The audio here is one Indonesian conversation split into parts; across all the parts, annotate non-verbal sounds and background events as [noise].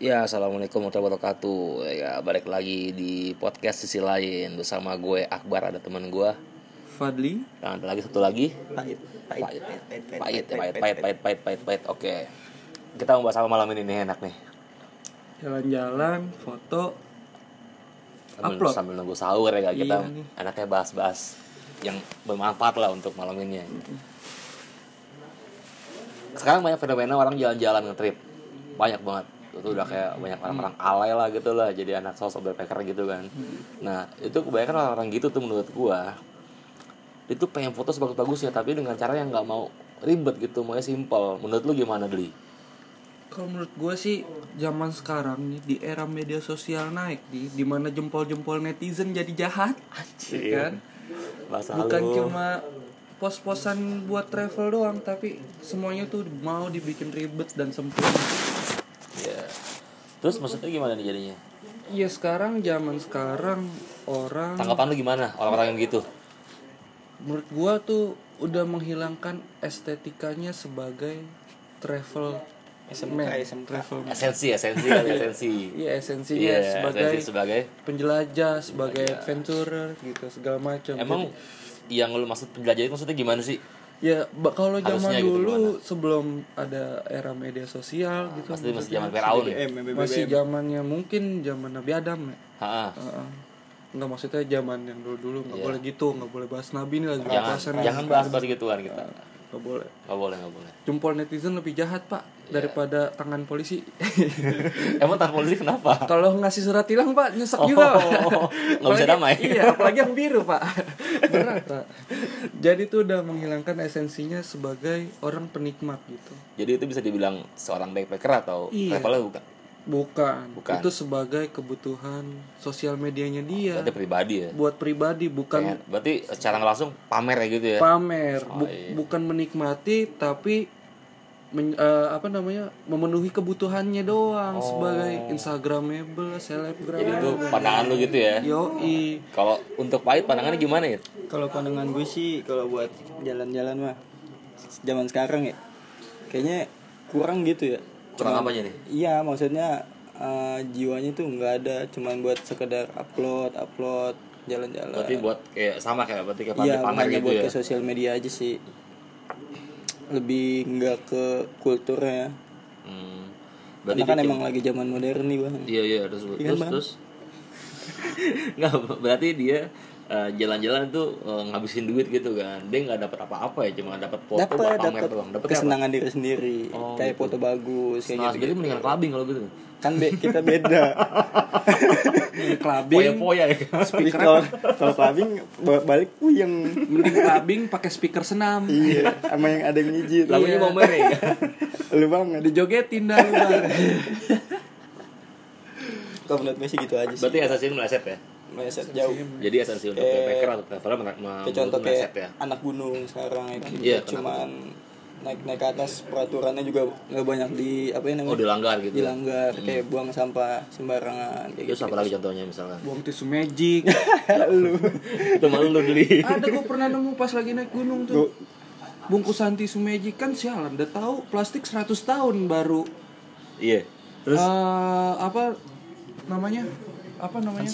Ya, assalamualaikum warahmatullahi wabarakatuh. Ya, balik lagi di podcast sisi lain bersama gue Akbar ada teman gue. Fadli Dan ada lagi satu lagi. pahit Pahit, pahit, pahit, pahit, pahit, pahit, pahit, pahit. Oke, kita mau bahas apa malam ini nih enak nih. jalan-jalan foto Sambil, Upload. sambil nunggu sahur ya kita Iya nih. anaknya bahas-bahas yang bermanfaat lah untuk malam ini. Sekarang banyak fenomena orang jalan-jalan ngetrip, banyak banget. Itu udah kayak banyak orang-orang Hmm. alay lah gitu lah, jadi anak sosok backpacker gitu kan. Nah itu kebanyakan orang-orang gitu tuh menurut gua itu pengen foto sebagus-bagusnya tapi dengan cara yang nggak mau ribet gitu maunya simpel menurut lu gimana Dli? kalau menurut gue sih zaman sekarang nih di era media sosial naik di dimana jempol-jempol netizen jadi jahat ya Iya, kan Bahasa bukan lu. cuma pos-posan buat travel doang tapi semuanya tuh mau dibikin ribet dan sempurna Iya. Terus maksudnya gimana nih jadinya? ya sekarang zaman sekarang orang Tanggapan lu gimana orang-orang yang gitu? menurut gua tuh udah menghilangkan estetikanya sebagai travel man, travel man. Esensi, esensi [laughs] kan esensi. Iya esensinya Iya, sebagai esensi sebagai penjelajah, sebagai adventurer gitu segala macam. emang Jadi, yang lu maksud penjelajah itu maksudnya gimana sih? ya ba- kalau zaman Harusnya gitu dulu sebelum ada era media sosial gitu Pasti masih zaman Firaun. ya? masih zamannya mungkin zaman Nabi Adam ya. Heeh. Heeh. Enggak maksudnya zaman yang dulu-dulu nggak boleh gitu, nggak boleh bahas nabi nih lagi Iya. Jangan bahasan nih. jangan bahas-bahas gituan kita. Nggak boleh. Gak boleh, gak [laughs] boleh. Jempol netizen lebih jahat, Pak, Iya. daripada tangan polisi. [laughs] Emang tanpa polisi kenapa? Kalau ngasih surat tilang pak nyesek juga pak. Oh, [laughs] nggak bisa Apalagi- damai. Iya, apalagi yang biru [laughs] pak. Berat pak. Jadi itu udah menghilangkan esensinya sebagai orang penikmat gitu. Jadi itu bisa dibilang seorang backpacker atau Iya. traveler bukan? Bukan. Bukan. Itu sebagai kebutuhan sosial medianya dia. Berarti pribadi ya. Buat pribadi bukan Pengen- Berarti secara nggak langsung pamer ya gitu ya. pamer, Bu- bukan menikmati tapi men- eh, apa namanya memenuhi kebutuhannya doang Oh. sebagai instagramable, selebgram. Jadi itu pandangan lu gitu ya. Iya. Yoi. Kalau untuk pahit pandangannya gimana ya? Kalau pandangan gue sih kalau buat jalan-jalan mah zaman sekarang ya kayaknya kurang gitu ya. Kurang apanya nih? Iya, maksudnya eh, jiwanya tuh nggak ada cuman buat sekedar upload, upload jalan-jalan. Berarti buat kayak sama kayak berarti kayak Iya, pamer makanya gitu buat ya. ke sosial media aja sih. Lebih nggak ke kulturnya. Hmm. Berarti Karena kan bikin- emang lagi zaman modern nih, Bang. Iya iya terus terus terus. [laughs] Nggak, berarti dia eh, jalan-jalan tuh eh, ngabisin duit gitu kan. Dia nggak dapat apa-apa ya, cuma dapat foto buat Dapat pamer dapat doang. Dapat apa? Oh, gitu. kesenangan diri sendiri, kayak foto bagus kayak Nah, gitu. jadi mendingan clubbing kalau gitu. Kan be- kita [laughs] beda. Clubbing Poya-poya [laughs] ya kan. Tapi kalau kalau clubbing ba- balik puyeng mending clubbing pakai speaker senam iya sama yang ada yang ngijit Lagunya mau main Iya. ya. kan? lu banget dijogetin dah lu, [laughs] Bang. kalau menurut gue sih gitu aja sih Berarti esensinya meleset ya. meleset jauh Jadi esensi untuk Kayak- backpacker atau traveler men- men- Eh, kayak contoh meleset kayak ya. anak gunung sekarang itu Iya, kenapa? cuman naik naik ke atas peraturannya juga nggak banyak di apa ya Oh namanya dilanggar gitu. dilanggar kayak buang sampah sembarangan kayak Terus gitu apa lagi contohnya [laughs] misalkan? buang tisu magic lu Itu malu lu beli. ada gue pernah nemu pas lagi naik gunung tuh bungkusan tisu magic kan sialan udah tahu plastik 100 tahun baru Iya. Terus Eh, apa namanya apa namanya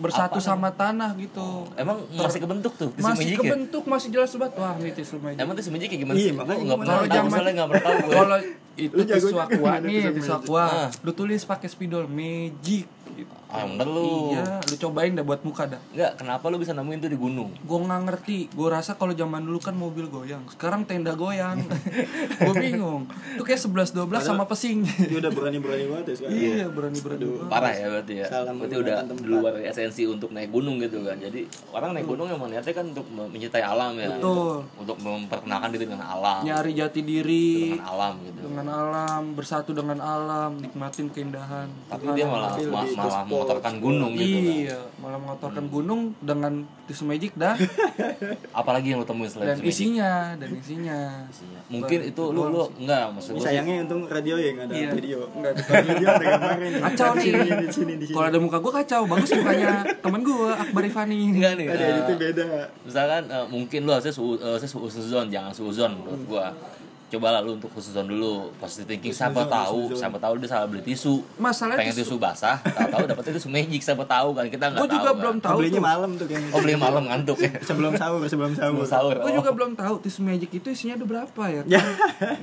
bersatu sama tanah gitu emang masih kebentuk tuh tisu masih magicnya? kebentuk masih jelas banget wah ini tisu magic Emang tisu magic kayak gimana sih? Gue nggak pernah Kalau tahu, zaman- soalnya nggak pernah tahu ya? Ah. gue. kalau itu tisu aqua nih tisu aqua lu tulis pakai spidol magic gitu. Ah, bener lu. iya lu cobain dah buat muka dah Enggak, kenapa lu bisa nemuin tuh di gunung? gue nggak ngerti gue rasa kalau zaman dulu kan mobil goyang sekarang tenda goyang [laughs] gue bingung itu kayak 11 12 sama pesing Iya. dia udah berani berani banget ya sekarang iya berani berani banget. Parah ya berarti ya. Salah berarti menggunakan udah tempat. di luar esensi untuk naik gunung gitu kan. Jadi orang naik gunung emang niatnya kan untuk me- mencintai alam ya. Betul. Iya. Untuk memperkenalkan diri dengan alam. nyari jati diri Dengan alam gitu. dengan alam bersatu dengan alam nikmatin keindahan Tapi dia malah ma- malah mengotorkan gunung gitu Hmm. kan. iya malah mengotorkan gunung dengan tisu magic [laughs] dan Apalagi yang lu temuin selain dan tisu magic. isinya dan isinya Mungkin itu lu lu enggak maksud Ini gue. Eh, sayangnya untung radio ya nggak ada Iya. video Nggak ada. Kalau video ada gambarin [laughs] kacau nih di sini di sini kalau ada muka gue kacau bagus mukanya temen gue Akbar Ifani Enggak nih. ada eh, itu beda misalkan eh, mungkin lu harusnya su, eh, harusnya su- suzon, jangan suzon menurut gua cobalah lu untuk khususon dulu positive thinking siapa tahu siapa tahu dia salah beli tisu Masalahnya pengen tisu, basah tahu tahu dapetnya tisu magic siapa tahu kan kita nggak gue tahu juga kan. belum tahu belinya tuh malam tuh kayaknya oh beli malam ngantuk ya sebelum sahur sebelum sahur Belum sahur gue oh. juga belum tahu tisu magic itu isinya ada berapa ya kan?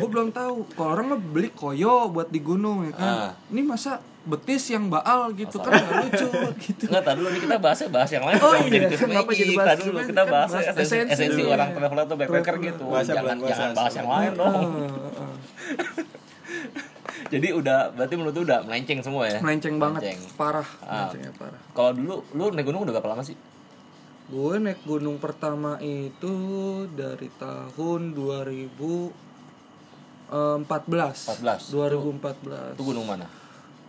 gue belum tahu kalau orang mah beli koyo buat di gunung ya kan Ah. ini masa betis yang baal gitu kan gak lucu gitu [laughs] Enggak, tadi dulu nih kita bahasnya bahas yang lain. Oh Kenapa iya, jadi tisu kenapa magic? jadi bahas Tadi tisu dulu magic? kita Kan bahas bahas esensi, esensi esensi dulu. orang traveler atau backpacker gitu. Bahasa jangan bulan jangan puasa, bahas yang lain dong. Heeh. Jadi udah berarti menurut lu udah melenceng semua ya. melenceng banget Melenceng. parah Ah. melencengnya parah Kalau dulu lu naik gunung udah berapa lama sih? gue naik gunung pertama itu dari tahun eh, 2014 14. 2014 Itu gunung mana?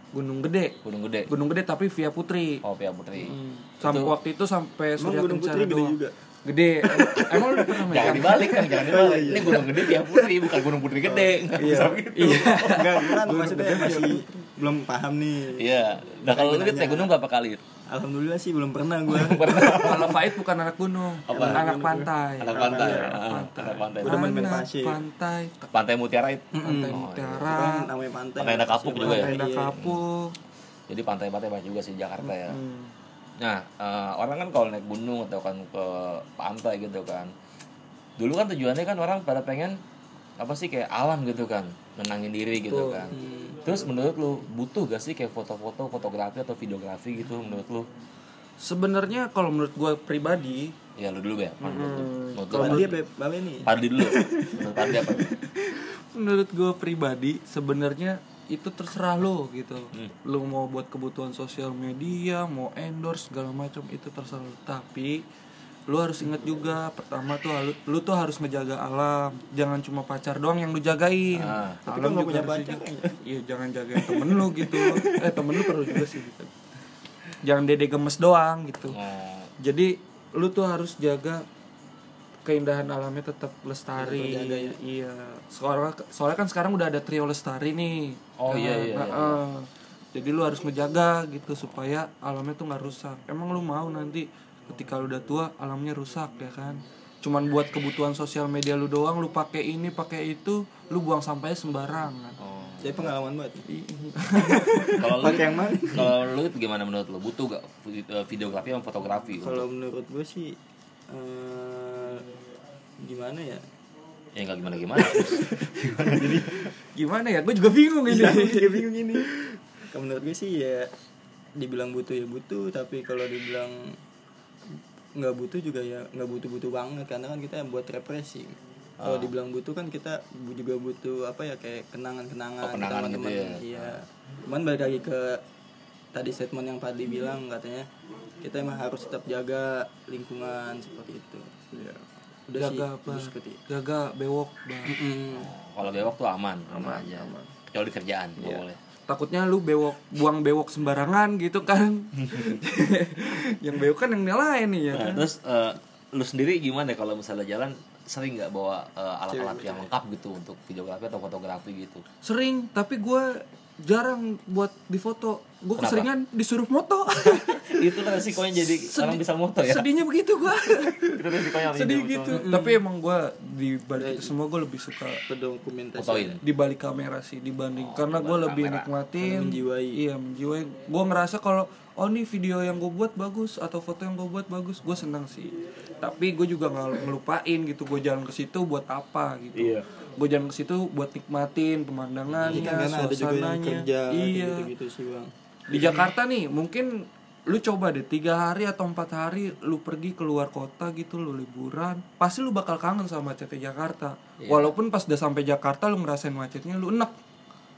gunung gede Gunung gede. gunung gede tapi via putri Oh, Pia Putri. Hmm. sampai waktu itu sampai surya Gunung kencana Putri gede doang. juga? gede Em- emang lu pernah main Jangan dibalik kan, jangan dibalik. Ini gunung gede Pia Putri, bukan gunung putri gede. Nggak bisa begitu. enggak Iya. bukan maksudnya masih belum paham nih Iya. Nah, kalau lu naik gunung berapa kali? alhamdulillah sih belum pernah gue kalau Faiz bukan anak gunung Apa? anak pantai Anak pantai. Ah, Anak pantai. Udah main-main Anak pasir. pantai Pantai Mutiara itu. Oh, pantai iya. mutiara namanya pantai Pantai Indah Kapuk juga ya? pantai Iya. kapuk Jadi pantai-pantai banyak juga sih di Jakarta ya. Nah, eh, orang kan kalau naik gunung atau kan ke pantai gitu kan. Dulu kan tujuannya kan orang pada pengen apa sih kayak alam gitu kan, menangin diri gitu kan. Terus menurut lu butuh gak sih kayak foto-foto, fotografi atau videografi gitu menurut lu? sebenarnya kalau menurut gue pribadi Ya lu dulu ya. Menurut lu. Menurut lu Kalau Pandi. dia beb balik nih Pandi dulu. [laughs] Menurut Pandi apa? menurut gue pribadi sebenarnya itu terserah lo gitu lo mau buat kebutuhan sosial media mau endorse segala macam itu terserah lo tapi lo harus inget juga pertama tuh halu- lo tuh harus ngejaga alam jangan cuma pacar doang yang lo jagain Ah. alam juga punya pacar iya jangan jagain temen lo gitu [laughs] eh temen lo perlu juga sih gitu. jangan dede gemes doang gitu Nah, jadi lu tuh harus jaga keindahan alamnya tetap lestari iya soalnya soalnya kan sekarang udah ada trio lestari nih Oh, iya, Nah, iya, nah, eh. jadi lu harus ngejaga gitu supaya alamnya tuh nggak rusak emang lu mau nanti ketika lu udah tua alamnya rusak ya kan cuman buat kebutuhan sosial media lu doang lu pakai ini pakai itu lu buang sampahnya sembarangan Oh. jadi pengalaman banget kalau lu pakai yang mana kalau lu gimana menurut lu? Butuh gak videografi sama fotografi? kalau menurut gue sih eh, gimana ya Ya nggak gimana gimana. gimana ya gue juga bingung ini Dia bingung ini kalau menurut gue sih ya dibilang butuh ya butuh tapi kalau dibilang nggak butuh juga ya nggak butuh butuh banget karena kan kita buat represi Ah. kalau dibilang butuh kan kita bu- juga butuh apa ya kayak kenangan kenangan Oh, kenangan gitu ya. iya cuman balik lagi ke tadi statement yang Padli bilang katanya kita emang harus tetap jaga lingkungan seperti itu Iya. udah sih jaga udah bah, seperti itu jaga bewok bah. Mm. kalau bewok tuh aman aman Iya. aja kecuali di kerjaan nggak boleh takutnya lu bewok buang bewok sembarangan gitu kan [laughs] yang bewok kan yang nyalain nih ya Nah, kan terus eh, lu sendiri gimana kalau misalnya jalan sering nggak bawa eh, alat-alat yang lengkap gitu untuk videografi atau fotografi gitu sering tapi gue jarang buat difoto gue Kenapa? keseringan disuruh [laughs] moto itu kan resikonya jadi orang bisa moto ya sedihnya begitu gue itu resikonya orang sedih jadi Hmm. Iya. gitu tapi emang gue di balik itu semua gue lebih suka Terdokumentasi. fotoin di balik kamera sih Oh, dibanding karena gue lebih nikmatin menjiwai. iya menjiwai gue ngerasa kalau oh nih video yang gue buat bagus atau foto yang gue buat bagus gue senang sih tapi gue juga nggak ngelupain gitu gue jalan ke situ buat apa gitu Iya. gue jalan ke situ buat nikmatin pemandangannya Kan karena ada juga yang suasananya kerja iya gitu sih bang di Jakarta nih mungkin lu coba deh tiga hari atau empat hari lu pergi keluar kota gitu lu liburan pasti lu bakal kangen sama macetnya Jakarta Iya. walaupun pas udah sampai Jakarta lu ngerasain macetnya lu enek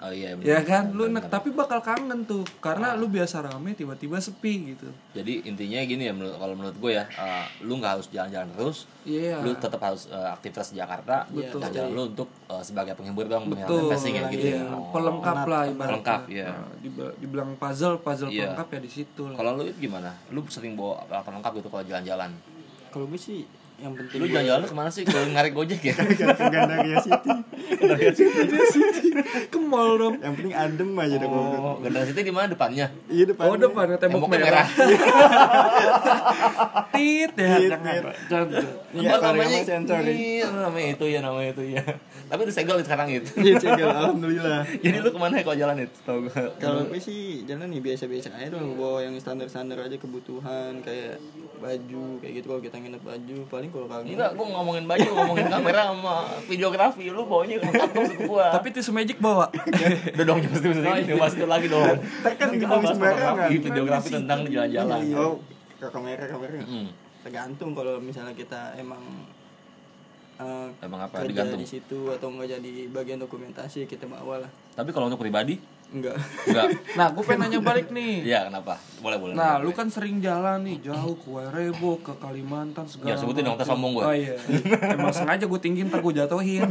oh iya bener. ya kan lu enek tapi bakal kangen tuh karena lu biasa rame tiba-tiba sepi gitu jadi intinya gini ya menurut kalau menurut gue ya eh, lu nggak harus jalan-jalan terus iya lu tetap harus eh, aktivitas di Jakarta Betul. dan jalan lu untuk eh, sebagai penghibur doang Tuh, penghibur refreshing ya gitu iya. ya Oh. pelengkap lah ibaratnya Pelengkap, iya. Nah, diba- dibilang puzzle puzzle Iya. pelengkap ya di situ lah kalau lu gimana lu sering bawa alat lengkap gitu kalau jalan-jalan kalau gue sih yang penting [laughs] Lu jalan-jalan kemana sih? Kalau narik gojek ya? ke Gandaria City ke mall dong yang penting adem aja deh Oh, Gandang City di mana depannya? iya depan oh depannya tembok Temboknya merah merah. tit ya Tit, jangan, tit. jangan. Iya, Apa sorry, namanya sensory. Iya, namanya itu ya, namanya itu ya. Tapi disegel nih sekarang itu. [laughs] iya cegel alhamdulillah Jadi lu kemana ya kalau jalan itu? Tahu gue. kalau gue sih jalan nih biasa-biasa aja dong bawa yang standar-standar aja kebutuhan kayak baju kayak gitu kalau kita nginep baju paling kalau kangen Enggak, gue ngomongin baju, ngomongin kamera sama videografi Lu bawanya ke lengkap dong suku gua tapi tisu magic bawa Udah dong, pasti mesti ini, pasti lagi dong Tekan di Nggak, bawah bahas kan sembarangan. fotografi, videografi tentang Iya, jalan-jalan oh ke kamera kamera Mm. tergantung kalau misalnya kita emang eh, Emang apa? kerja Digantung. di situ atau enggak jadi bagian dokumentasi kita bawa lah Tapi kalau untuk pribadi, [laughs] enggak enggak nah gue pengen nanya balik nih Iya, kenapa? Boleh, boleh nah lu kan sering jalan nih jauh ke Wairebo ke Kalimantan Ya, segala sebutin dong, ntar macam. sombong gue. oh, iya. emang sengaja gue tinggiin ntar gue [laughs] jatuhin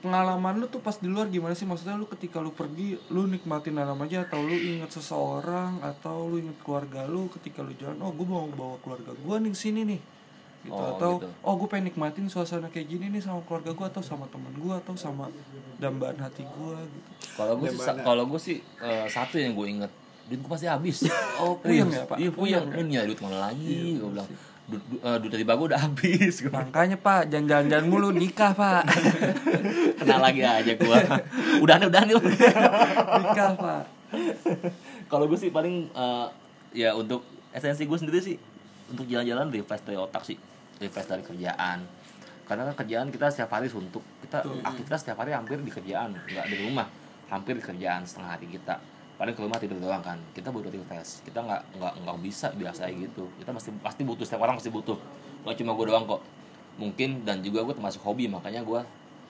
pengalaman lu tuh pas di luar gimana sih maksudnya lu ketika lu pergi lu nikmatin alam aja atau lu inget seseorang atau lu inget keluarga lu ketika lu jalan oh gue mau bawa keluarga gue nih sini nih gitu Oh, atau gitu. oh gue pengen nikmatin suasana kayak gini nih sama keluarga gue atau sama temen gue atau sama dambaan hati gue gitu Kalau gue sih, kalau gue sih eh, satu yang gue inget duit gue pasti habis. [laughs] Oh, puyeng ya, Iya, Pak? Iya puyeng. Lu nyari duit mana lagi? Gue bilang duit du- eh, duit dari bagus udah habis. [laughs] Gua bilang, Makanya pak, jangan jalan-jalan mulu nikah [laughs] pak, Kena lagi aja [laughs] gue. udah nih, udah nih. nikah pak. [laughs] kalau gue sih paling eh, ya untuk esensi gue sendiri sih untuk jalan-jalan refresh dari otak sih, refresh dari kerjaan. Karena kan kerjaan kita setiap hari suntuk, kita Hmm. aktivitas setiap hari hampir di kerjaan, nggak di rumah, hampir di kerjaan setengah hari kita. Paling ke rumah tidur doang kan, kita butuh refresh, kita nggak nggak nggak bisa biasanya gitu. Kita pasti pasti butuh setiap orang pasti butuh, nggak cuma gue doang kok. Mungkin dan juga gue termasuk hobi makanya gue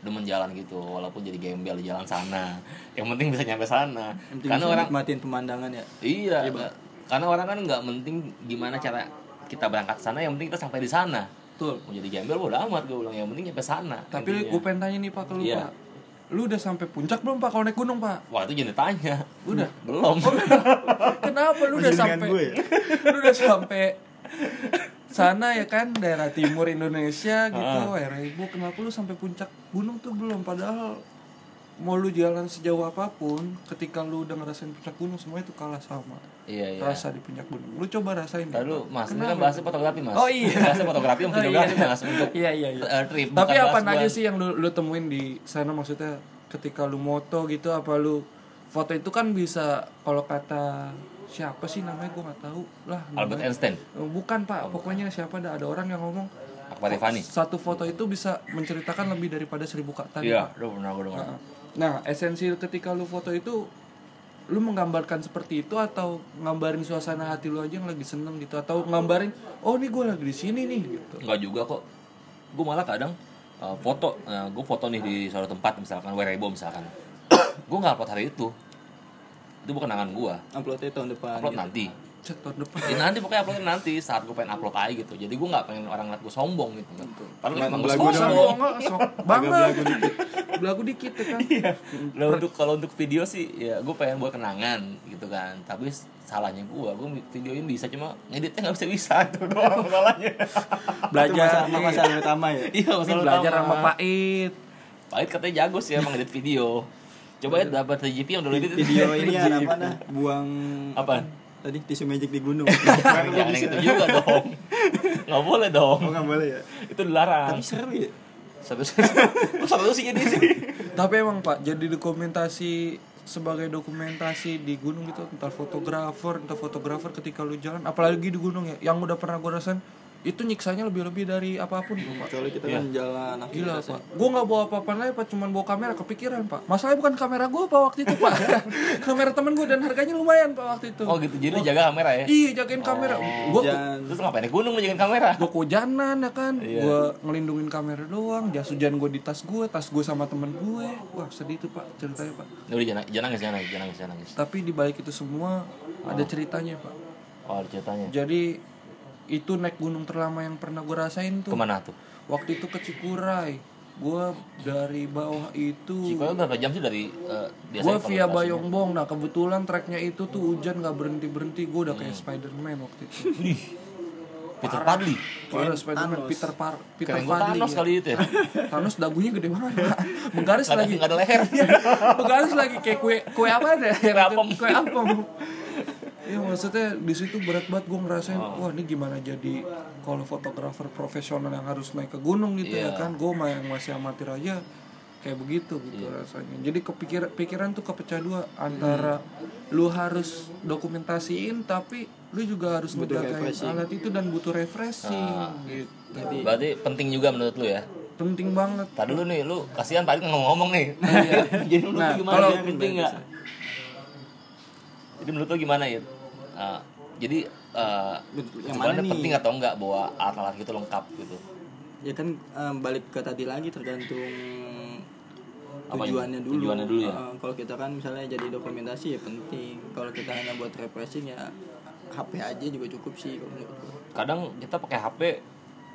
demen jalan gitu walaupun jadi gembel di jalan sana [laughs] yang penting bisa nyampe sana Yang penting karena bisa orang nikmatin pemandangan ya Iya, Mbak. karena orang kan nggak penting gimana cara kita berangkat ke sana, yang penting kita sampai di sana. Betul. Mau jadi gembel bodo amat gue bilang, yang penting nyampe sana. Tapi intinya. gue pengen tanya nih pak ke lu Iya. pak, lu udah sampai puncak belum pak kalau naik gunung pak? Wah itu jangan ditanya. Udah. Belum. Kenapa [laughs] lu udah Masih dengan sampai? gue ya? [laughs] Lu udah sampai sana ya kan daerah timur Indonesia gitu, Ah. daerah ibu. Kenapa lu sampai puncak gunung tuh belum? Padahal mau lu jalan sejauh apapun, ketika lu udah ngerasain puncak gunung semua itu kalah sama iya [laughs] iya. rasa di puncak gunung. Lu coba rasain. Ntar deh, lu Pak. mas, ini Kenapa? kan bahasnya fotografi mas. Oh, iya. Bahasnya fotografi sama Oh, videografi iya. mas untuk Iya, iya, iya. eh, trip. Tapi bukan apa bahas aja buat- sih yang lu, lu temuin di sana maksudnya ketika lu moto gitu apa lu foto itu kan bisa kalau kata siapa sih namanya gua nggak tahu lah Albert namanya. Einstein, Eh, bukan pak pokoknya siapa ada ada orang yang ngomong Akbar Fani. satu foto itu bisa menceritakan lebih daripada seribu kata nih, Iya, Pak. lu pernah gue dengar. Nah, nah esensi ketika lu foto itu lu menggambarkan seperti itu atau nggambarin suasana hati lu aja yang lagi seneng gitu atau nggambarin oh ini gua lagi di sini nih gitu Enggak juga kok. Gue malah kadang eh, foto, gue foto nih di suatu tempat misalkan Werebo misalkan. [coughs] gue nggak upload hari itu. Itu bukan kenangan gue. uploadnya tahun depan Upload gitu. nanti. Cet, tahun depan Ya, nanti pokoknya uploadnya nanti saat gue pengen upload aja gitu. Jadi gue nggak pengen orang ngeliat gue sombong gitu. kan. Padahal emang gue Belagu Oh, sombong. doang. [laughs] sombong sok banget. Belagu dikit ya kan. Iya, Lah, Nah, untuk kalau untuk video sih ya gue pengen buat kenangan gitu kan. Tapi s- salahnya gue, gue videoin bisa cuma ngeditnya nggak bisa bisa [laughs] itu doang masalahnya. itu masalah, masalah utama ya iya Ini masalah belajar utama. sama pahit. Pahit katanya jago sih emang ngedit video. Coba ya dapat GP yang dulu edit video ini [laughs] ya apa nah buang Apaan? tadi tisu magic di gunung [laughs] Jangan yang gitu juga dong. Nggak boleh dong. oh nggak boleh ya Itu dilarang. tapi seru ya Satu [laughs] satu sih jadi sih. Tapi emang Pak, jadi dokumentasi sebagai dokumentasi di gunung gitu entar fotografer, entar fotografer ketika lu jalan, apalagi di gunung ya, yang udah pernah gue rasain itu nyiksanya lebih-lebih dari apapun tuh, Pak. kecuali Iya. kita kan jalan Gila aktivitas pak, gue nggak bawa apa-apa lagi pak, cuman bawa kamera kepikiran pak. Masalahnya bukan kamera gue pak waktu itu [laughs] pak, kamera temen gue dan harganya lumayan pak waktu itu. Oh gitu. Jadi lu jaga kamera ya. Iya jagain kamera, gue dan Terus ngapain di gunung lu jagain kamera? gue kojanan ya kan Iya. gue ngelindungin kamera doang jas hujan gue di tas gue tas gue sama temen gue wah sedih tuh pak ceritanya pak Ya udah jangan jangan nangis, jangan nangis, jangan nangis, jangan nangis. tapi di balik itu semua ada ceritanya pak Oh, ada ceritanya. jadi itu naik gunung terlama yang pernah gue rasain tuh Kemana tuh? waktu itu ke Cikuray gue dari bawah itu Cikoy berapa jam sih dari eh, gue biasanya via Bayongbong [laughs] nah kebetulan treknya itu tuh hujan nggak berhenti berhenti gue udah kayak Spiderman waktu itu Ih, Peter Padli. Parah, Spiderman Peter Par Peter Keren gue Pan Thanos ya. kali itu ya. Thanos dagunya gede banget Pak. Menggaris Gak ada, [laughs] lagi Iya. gak ada [laughs] leher. Menggaris lagi kayak kue kue apa ada Kue apem. kue apem Iya maksudnya di situ berat banget gue ngerasain Oh. wah ini gimana jadi kalau fotografer profesional yang harus naik ke gunung gitu ya Iya. kan gue mah yang masih amatir aja kayak begitu gitu Iya. rasanya jadi kepikiran pikiran tuh kepecah dua antara Hmm. lu harus dokumentasiin tapi lu juga harus ngejagain alat itu dan butuh refreshing Ah. gitu Berarti penting juga menurut lu ya. penting banget Tadi lu nih, lu kasihan Padli ngomong-ngomong nih. Iya. Jadi menurut Nah, lu gimana? kalau- ya? penting nggak? Jadi menurut lu gimana ya? Nah, jadi eh, yang sebenarnya mana nih? penting atau enggak bawa alat-alat gitu lengkap gitu. ya kan em, balik ke tadi lagi tergantung Apanya? tujuannya dulu. Tujuannya dulu ya? Eh, kalau kita kan misalnya jadi dokumentasi ya penting. Kalau kita hanya buat refreshing ya HP aja juga cukup sih kalau menurut gua. Kadang kita pakai HP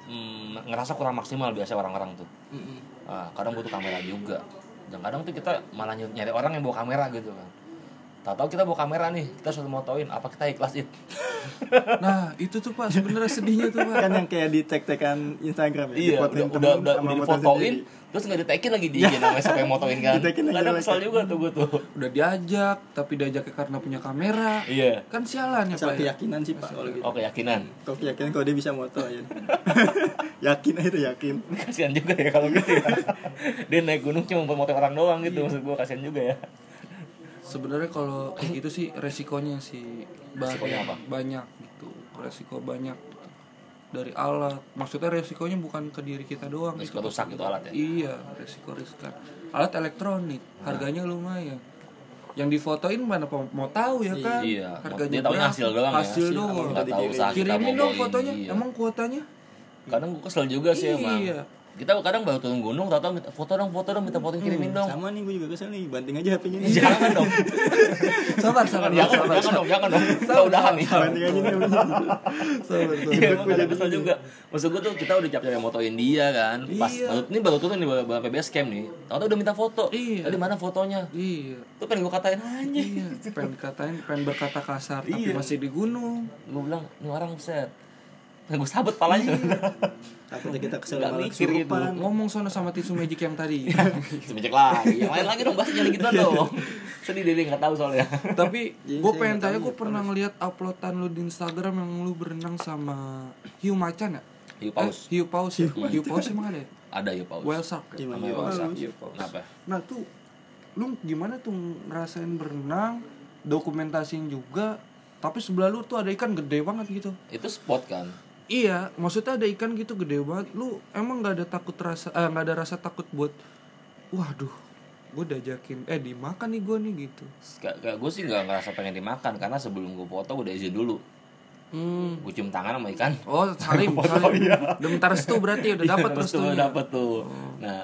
mm, ngerasa kurang maksimal biasa orang-orang tuh. Mm-mm. Nah, kadang butuh kamera juga. Dan kadang tuh kita malah ny- nyari orang yang bawa kamera gitu kan. Tahu-tahu kita bawa kamera nih, kita sudah mau tauin apa kita ikhlas [laughs] it. Nah, itu tuh Pak sebenarnya sedihnya tuh Pak. kan yang kayak di tag-tagan Instagram ya iya, udah dipotoin udah temen udah, sama udah foto difotoin, sendiri. terus nggak ditekin lagi di IG namanya siapa yang motoin kan. Ditekin lagi Kadang lagi. kesal juga tuh gue tuh. Udah diajak, tapi diajaknya karena punya kamera. Iya. Kan sialan ya Pak. Asal ya? keyakinan sih pak kalau gitu Oh keyakinan. [laughs] kalau keyakinan kalau dia bisa moto ya yakin aja tuh yakin Kasihan juga ya kalau gitu ya. Dia naik gunung cuma buat motoin orang doang gitu Iya. maksud gue kasihan juga ya. Sebenarnya kalau kayak gitu sih resikonya sih banyak, Resikonya apa? banyak gitu. Resiko banyak gitu. dari alat. Maksudnya resikonya bukan ke diri kita doang. Resiko rusak gitu alat ya? Iya, resiko riskan. Alat elektronik, harganya lumayan. Yang difotoin mana po- mau tahu ya kan? Iya, harganya dia tahu berapa? hasil doang Hasil ya. doang. Nggak tahu usaha kita Kirimin mau dong bawain, fotonya. iya. Emang kuotanya? kadang gue kesel juga sih Iya. emang kita kadang baru turun gunung tau tau minta foto dong foto dong minta foto kirimin dong Hmm, sama nih gue juga kesel nih banting aja HP-nya nih jangan [laughs] dong Sabar, sabar, jangan sabar. jangan dong jangan dong kita udahan nih banting aja nih sabar, sabar. Iya, emang kadang kesel juga. Maksud gue tuh kita udah capek yang motoin dia kan. Pas Iya. baru ini baru turun nih baru baru sampai base camp nih. Tahu udah minta foto. Iya. Tadi mana fotonya? Iya. Tuh pengen gue katain aja. Iya, pengen dikatain, pengen berkata kasar, tapi masih di gunung. Gue bilang, ini orang set. Pengen gue sabut palanya. Iya. [laughs] takutnya kita kesel Nggak malah mikir gitu. kesurupan Ngomong sono sama tisu magic yang tadi. Semicek lagi. Yang lain lagi dong bahasnya gitu Iya. dong. Sedih deh dia nggak tahu soalnya. [laughs] tapi gue Iya, saya pengen nggak tanya, tahu gue pernah ngeliat uploadan lu di Instagram yang lu berenang sama hiu macan ya? Hiu paus. Eh, hiu paus. ya? Hiu paus emang ada ya? Ada ya paus. Whale shark. ya? Gimana? Sama ya paus. Hiu paus. Kenapa? Nah tuh, lu gimana tuh ngerasain berenang, dokumentasiin juga, tapi sebelah lu tuh ada ikan gede banget gitu. Itu spot kan. Iya, maksudnya ada ikan gitu gede banget. Lu emang nggak ada takut rasa, eh, nggak ada rasa takut buat, waduh, gue diajakin, eh dimakan nih gue nih gitu. Kayak gue sih nggak ngerasa pengen dimakan karena sebelum gue foto gue udah izin dulu. Hmm. Gue cium tangan sama ikan. Oh, salim, salim. Udah bentar restu berarti ya, Iya, udah dapat terus tuh restunya. dapat tuh Hmm. nah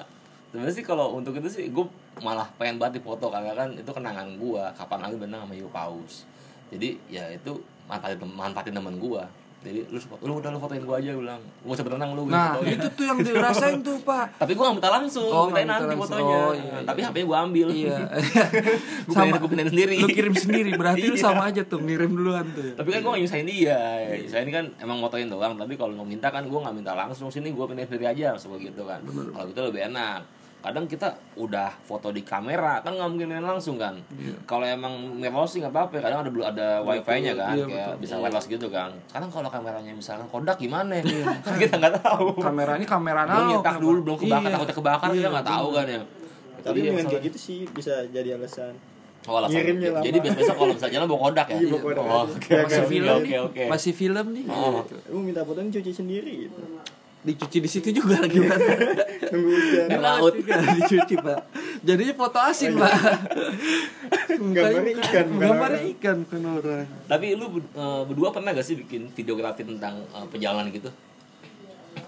sebenarnya sih kalau untuk itu sih gue malah pengen banget dipoto karena kan itu kenangan gue kapan lagi benang sama Yu Paus jadi ya itu manfaatin tem- manfaatin temen gue jadi lu support- lu udah lu fotoin gue aja gue bilang gue usah berenang lu gue Nah, fotoin." itu tuh yang dirasain tuh pak. tapi gue gak minta langsung Oh, mintain nggak minta nanti langsung. fotonya Oh, iya, tapi HP-nya gue ambil [laughs] Iya. [laughs] gue pindahin gue pindahin sendiri Lu kirim sendiri, Iya. berarti lu sama aja tuh ngirim duluan tuh. ya. tapi kan gue gak nyusahin dia ya. nyusahin kan emang motoin doang tapi kalau mau minta kan gue gak minta langsung sini gue pindahin sendiri aja langsung kayak gitu kan kalau gitu lebih enak kadang kita udah foto di kamera kan nggak mungkin main langsung kan kalau emang mirrorless sih nggak apa-apa kadang ada belum ada wifi nya kan Iya, kayak bisa wireless gitu kan sekarang kalau kameranya misalkan kodak gimana ya? [laughs] kita nggak tahu Kamera ini kamera belum analog. nyetak Pak. dulu belum kebakar Iya. takutnya kebakar Iya, kita nggak tahu kan ya Itu tapi dia dengan kayak masalahnya. gitu sih bisa jadi alasan Oh, alasan. Ngirimnya lama. Jadi besok kalau misalnya jalan bawa kodak ya. Iya, bawa kodak Oh, aja. oke, Kayak oke, Masih oke, film oke, nih, oke. masih film nih. Oh. gitu. lu minta fotonya cuci sendiri gitu [laughs] Dicuci di situ juga lagi berarti. nunggu hujan Di laut. juga dicuci pak jadinya foto asin pak Gambarnya ikan, bukan gambarnya orang. ikan bukan orang Tapi lu eh, berdua pernah gak sih bikin videografi tentang eh, perjalanan gitu?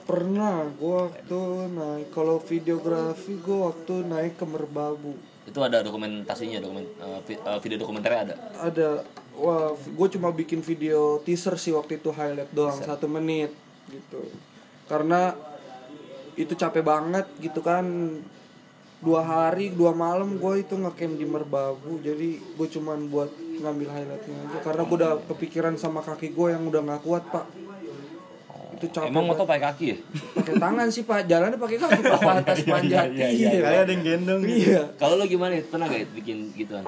pernah gua waktu naik kalau videografi gua waktu naik ke Merbabu Itu ada dokumentasinya, dokumen eh, vi- eh, video dokumenternya ada. ada wah gue cuma bikin video teaser sih waktu itu highlight doang satu menit gitu karena itu capek banget gitu kan dua hari dua malam gue itu ngecamp di Merbabu jadi gue cuman buat ngambil highlightnya aja karena gue udah kepikiran sama kaki gue yang udah nggak kuat pak itu capek Emang motor pakai kaki ya? pakai tangan sih pak jalannya pakai kaki pak ke atas panjat iya, iya kayak ada yang gendong gitu. iya [laughs] Kalau lo gimana? ya? Pernah gak bikin gituan?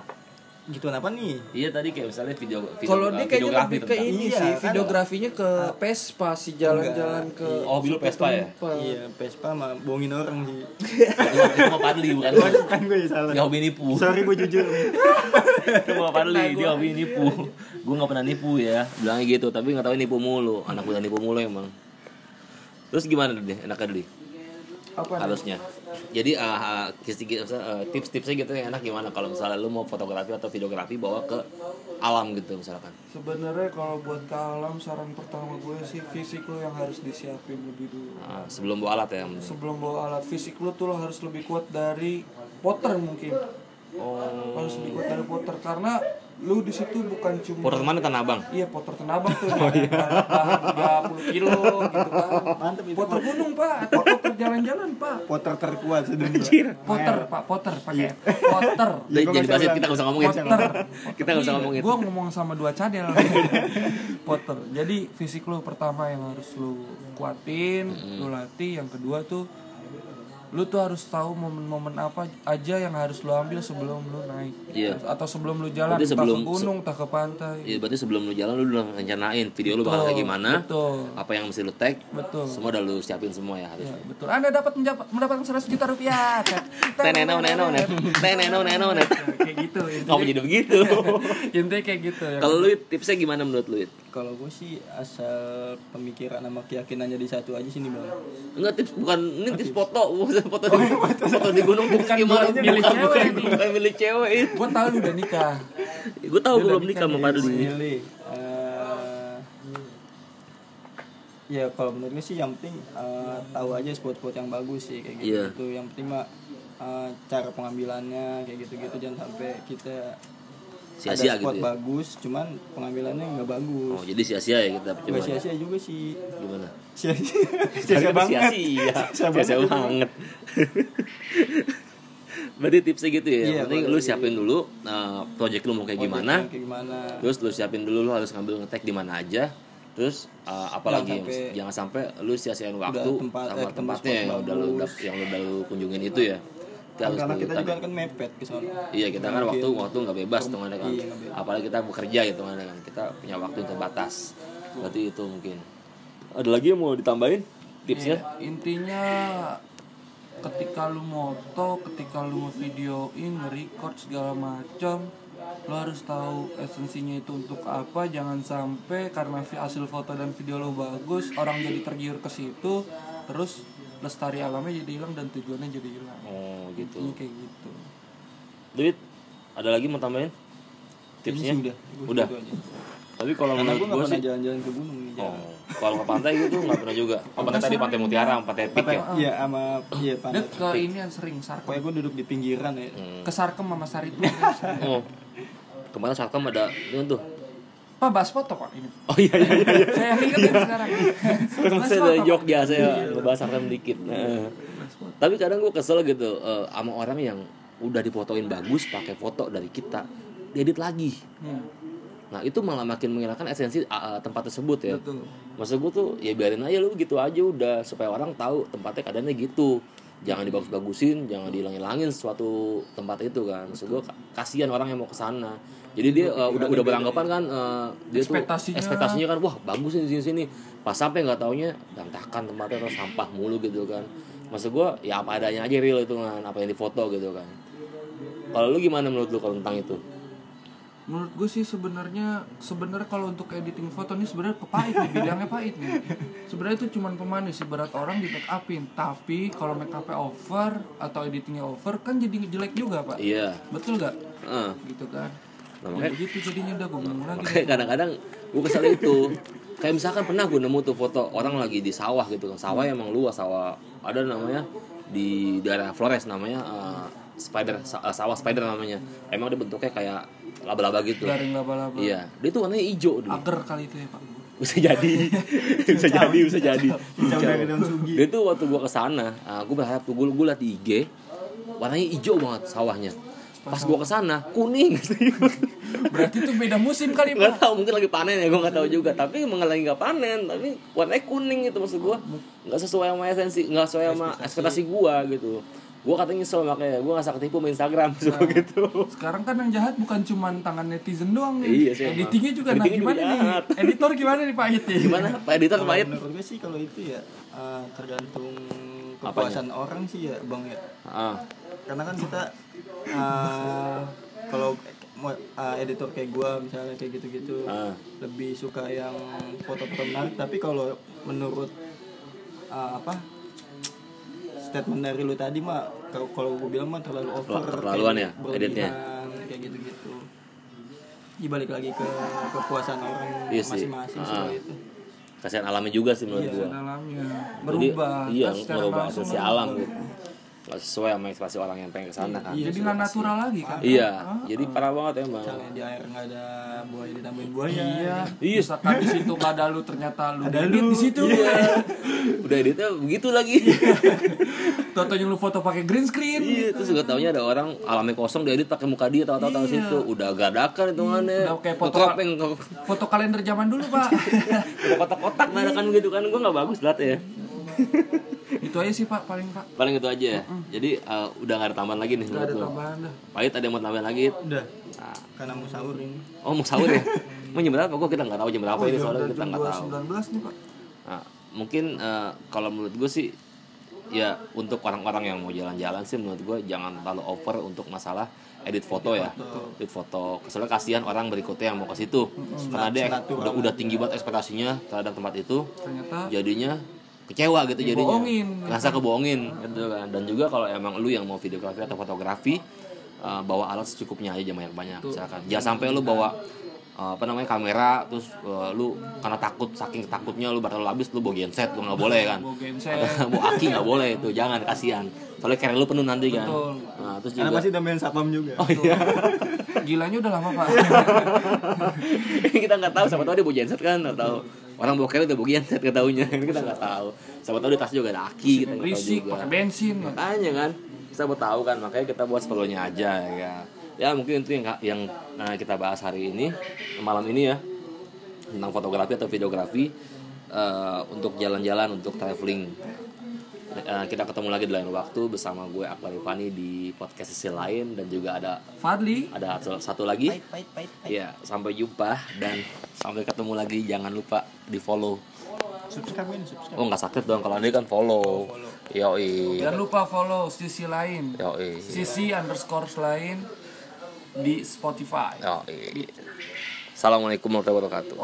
Gituan apa nih? Iya tadi kayak misalnya video video kalau dia kayaknya videografi lebih ke tentang- ini Iya, sih kan? videografinya ke Vespa sih jalan-jalan ke Oh, dulu Vespa ya? iya. Iya, Vespa mah bohongin orang sih. [laughs] Itu mau Padli bukan lo. Kan gue yang salah. Dia hobi nipu. [laughs] Sorry gue jujur. Itu mau Padli, dia hobi nipu. Gue gak pernah nipu ya, bilangnya gitu. Tapi gak tahu nipu mulu, anak muda nipu mulu emang. Terus gimana deh, enaknya deh? apa harusnya jadi ah, ah, kis- kis- eh, tips-tipsnya gitu yang enak gimana kalau misalnya lu mau fotografi atau videografi bawa ke alam gitu misalkan sebenarnya kalau buat ke alam saran pertama gue sih fisik lo yang harus disiapin lebih dulu Ah, sebelum bawa alat ya sebelum bawa alat fisik lo tuh lo harus lebih kuat dari Potter mungkin Oh, harus lebih kuat dari Potter karena lu di situ bukan cuma Purwokerto mana tanah abang Iya poter tenabang [laughs] tuh Oh, iya. bahan bahan 30 kilo gitu kan Mantep itu. Poter gunung pak, atau poter jalan-jalan pak Poter terkuat sedunia. Poter pak, poter pakai poter Udah, jadi gua masih basit ulang. kita gak usah ngomongin kita gak usah ngomongin Gue Iya, ngomong sama dua [laughs] cadel Potter Jadi fisik lu pertama yang harus lu kuatin, lu latih Yang kedua tuh lu tuh harus tahu momen-momen apa aja yang harus lu ambil sebelum lu naik Iya. atau sebelum lu jalan Berarti entah sebelum- ke gunung entah ke pantai ya berarti sebelum lu jalan lu udah rencanain video lu bakal kayak gimana betul apa yang mesti lu tag betul semua udah lu siapin semua ya harus Ya, betul. Anda dapat menjap- mendapatkan 100 juta [laughs] rupiah. tenenau nenau net tenenau nenau [laughs] net kayak gitu. intinya- ngapa jadi [laughs] begitu Intinya kayak gitu ya. kalau lu It, tipsnya gimana menurut lu It? Kalau gue sih asal pemikiran sama keyakinan jadi satu aja sih nih bang. Enggak tips bukan ini tips foto, [laughs] bukan foto di foto di gunung tips gimana? bukan milih Bukan, cewek bukan, bukan milih cewek. Gua tahu lu udah nikah. Gue tahu gue belum nikah kan sama Padli. Pilih. eh, ya kalau menurut gue sih yang penting eh, tahu aja spot-spot yang bagus sih kayak gitu. Iya. Itu yang penting mah eh, cara pengambilannya kayak gitu-gitu jangan sampai kita Sia-sia ada gitu spot ya? bagus cuman pengambilannya nggak Oh, bagus. jadi sia-sia ya kita Nggak percuma. sia-sia juga [laughs] sih. Gimana? Sia-sia. Sia-sia Sia-sia banget. Sia-sia, [laughs] Sia-sia Sia-sia banget. banget. [laughs] Berarti tipsnya gitu ya. Iya, Yang penting lu siapin dulu eh, project lu mau kayak gimana. Kayak gimana? Terus lu siapin dulu lu harus ngambil ngetek di mana aja. Terus eh, apalagi yang- sampai- jangan sampai lu sia-siain waktu tempat- eh, sama ketemu tempatnya spot yang udah lu bagus. yang udah lu kunjungin itu ya. Kita harus Karena kita mengutamain. juga kan mepet ke sana. Iya kita kan waktu waktu nggak bebas hitungannya kan. Iya, nggak bebas. Apalagi kita bekerja hitungannya kan. Kita punya waktu yang terbatas. Berarti itu mungkin. Iya. Ada lagi yang mau ditambahin tipsnya? Intinya ketika lu moto, ketika lu videoin, record segala macam, lu harus tahu esensinya itu untuk apa. Jangan sampai karena vi- hasil foto dan video lu bagus, orang jadi tergiur ke situ, terus lestari alamnya jadi hilang dan tujuannya jadi hilang. Oh gitu. Ini kayak gitu. Duit ada lagi mau tambahin? Tipsnya? Ini sih ya? Udah. Itu aja. Tapi kalau Karena menurut gue nggak gue pernah sih jalan-jalan ke gunung iya. nih. Oh, kalau ke pantai itu nggak pernah juga. Oh, pantai tadi pantai Mutiara, sama pantai Pik ya. Iya sama iya pantai. Dan ke ini yang sering sarkem. Pokoknya gue duduk di pinggiran ya. Hmm. Ke sarkem sama sari itu. Oh. Kemarin Sarkam ada itu tuh. Pak bahas foto pak ini. Oh iya iya [laughs] iya. Saya ingetin sekarang. Terus saya dari Jogja saya ya. ngebahas Arkham dikit. Nah. Tapi kadang gue kesel gitu eh, sama orang yang udah dipotoin bagus pakai foto dari kita diedit lagi. Hmm, Nah itu malah makin menghilangkan esensi eh, tempat tersebut ya. betul. Maksud gue tuh ya biarin aja lu gitu aja udah supaya orang tahu tempatnya keadaannya gitu. Jangan dibagus-bagusin, jangan dihilangin-hilangin suatu tempat itu kan. Maksud gue kasihan orang yang mau ke sana. Jadi dia eh, udah udah beranggapan kan eh, dia tuh Ekspektasinya. ekspektasinya kan wah bagus nih di sini sini. Pas sampai nggak taunya berantakan tempatnya atau sampah mulu gitu kan. Maksud gue ya apa adanya aja real itu kan apa yang difoto gitu kan. Kalau lu gimana menurut lu kalau tentang itu? Menurut gue sih sebenarnya sebenarnya kalau untuk editing foto ini sebenarnya kepahit nih bidangnya pahit nih. Sebenarnya itu cuman pemanis ibarat orang di make upin, tapi kalau make up over atau editingnya over kan jadi jelek juga pak. Iya. Betul nggak? Heeh. Gitu kan. Nah, Ya, begitu jadinya udah gue ngomong lagi. makanya kadang-kadang gue kesel itu kayak misalkan pernah gue nemu tuh foto orang lagi di sawah gitu kan sawah emang luas sawah ada namanya di daerah Flores namanya eh, spider sa- eh, sawah spider namanya emang dia bentuknya kayak laba-laba gitu Garing laba-laba. iya dia tuh warnanya hijau dulu Agar kali itu ya pak. bisa [laughs] jadi bisa jadi bisa jadi Jauh dari daun sugi. dia tuh waktu gua kesana ah, gua berharap tuh gua, gua liat di IG warnanya hijau banget sawahnya pas gua kesana kuning [laughs] Berarti itu beda musim kali nggak pak. tahu mungkin lagi panen ya gue nggak tahu juga tapi emang lagi nggak panen tapi warnanya kuning gitu maksud gue nggak sesuai sama esensi nggak sesuai sama ekspektasi gue gitu gue katanya nyesel makanya gue nggak ketipu sama Instagram maksud gua gitu Sekarang kan yang jahat bukan cuman tangan netizen doang Iya nih. sih, emang. Editingnya juga nah Editingnya juga gimana nih? jahat. Iya, Editor gimana nih Pak Iti? gimana pak editor Kalau pak Ed? menurut gue sih kalau itu ya eh, tergantung kepuasan orang sih ya bang ya Ah. karena kan kita eh, kalau mau- eh, editor kayak gua misalnya kayak gitu-gitu Ah. lebih suka yang foto-foto menarik tapi kalau menurut eh, apa statement dari lu tadi mah kalau- kalau gua bilang mah terlalu over Terlaluan ya, berlebihan, editnya? kayak gitu-gitu Ya, balik lagi ke kepuasan orang Iya sih. masing-masing Ah. sih gitu. kalau itu kasihan alamnya juga sih Iya, menurut gue Dalamnya jadi berubah. iya kan secara merubah langsung esensi kan. alam gitu nggak sesuai sama ekspektasi orang yang pengen kesana kan Jadi nggak natural lagi kan? iya jadi parah banget emang misalnya di air nggak ada buaya ditambahin buaya Iya. Iya. Misalkan di situ nggak ada lu ternyata lu Iya. edit di situ. [laughs] udah editnya begitu lagi Toto yang lu foto pakai green screen. iya terus gak taunya ada orang alamnya kosong diedit pakai muka dia tahu-tahu tahu situ udah gadakan hitungannya Iya. Udah kayak foto- Ngekropeng, Foto kalender zaman dulu [laughs] pak. udah kotak-kotak gadakan gitu kan gue nggak bagus lihat ya itu aja sih pak paling pak. paling itu aja ya jadi eh, udah gak ada tambahan lagi nih Gak menurut ada lo tambahan dah. pahit ada yang mau tambahan lagi udah Nah, karena mau sahur ini oh mau sahur ya mau jam berapa gue kita nggak tahu jam berapa Oh, iya, ini soalnya kita nggak tahu 19 nih pak. Nah, mungkin eh, kalau menurut gue sih ya untuk orang-orang yang mau jalan-jalan sih menurut gue jangan terlalu over untuk masalah edit foto ya edit foto soalnya kasihan orang berikutnya yang mau ke situ karena dia udah, udah tinggi banget ekspektasinya terhadap tempat itu Ternyata jadinya kecewa gitu jadinya Dibohongin. ngerasa kebohongin gitu kan dan juga kalau emang lu yang mau videografi atau fotografi eh, bawa alat secukupnya aja jangan banyak-banyak misalkan jangan sampai lu bawa eh, apa namanya kamera terus eh, lu karena takut saking takutnya lu batal habis lu bawa genset lu nggak boleh kan bawa genset. [laughs] bawa aki nggak boleh itu jangan kasihan soalnya carry lu penuh nanti kan Betul. nah, terus karena juga pasti tambahin satpam juga oh [laughs] iya Gilanya udah lama pak. [laughs] Ini kita nggak tahu siapa tahu dia bawa genset kan atau orang bawa carry udah bawa genset nggak taunya Ini kita nggak tahu siapa tahu di tas juga ada aki kita nggak tahu Berisik juga pakai bensin. ya. makanya kan kita mau tahu kan makanya kita buat seperlunya aja ya ya mungkin itu yang yang nah, kita bahas hari ini malam ini ya tentang fotografi atau videografi eh, untuk jalan-jalan untuk traveling Eh, kita ketemu lagi di lain waktu bersama gue Akbar Rifani di podcast sisi lain dan juga ada Fadli. ada satu- satu lagi pahit pahit ya sampai jumpa dan sampai ketemu lagi jangan lupa di follow subscribe ini subscribe Oh, oh nggak sakit dong kalau ini kan follow yoi Jangan lupa follow sisi lain. yoi Sisi underscore lain di Spotify. Oh, iya. Assalamualaikum warahmatullahi wabarakatuh.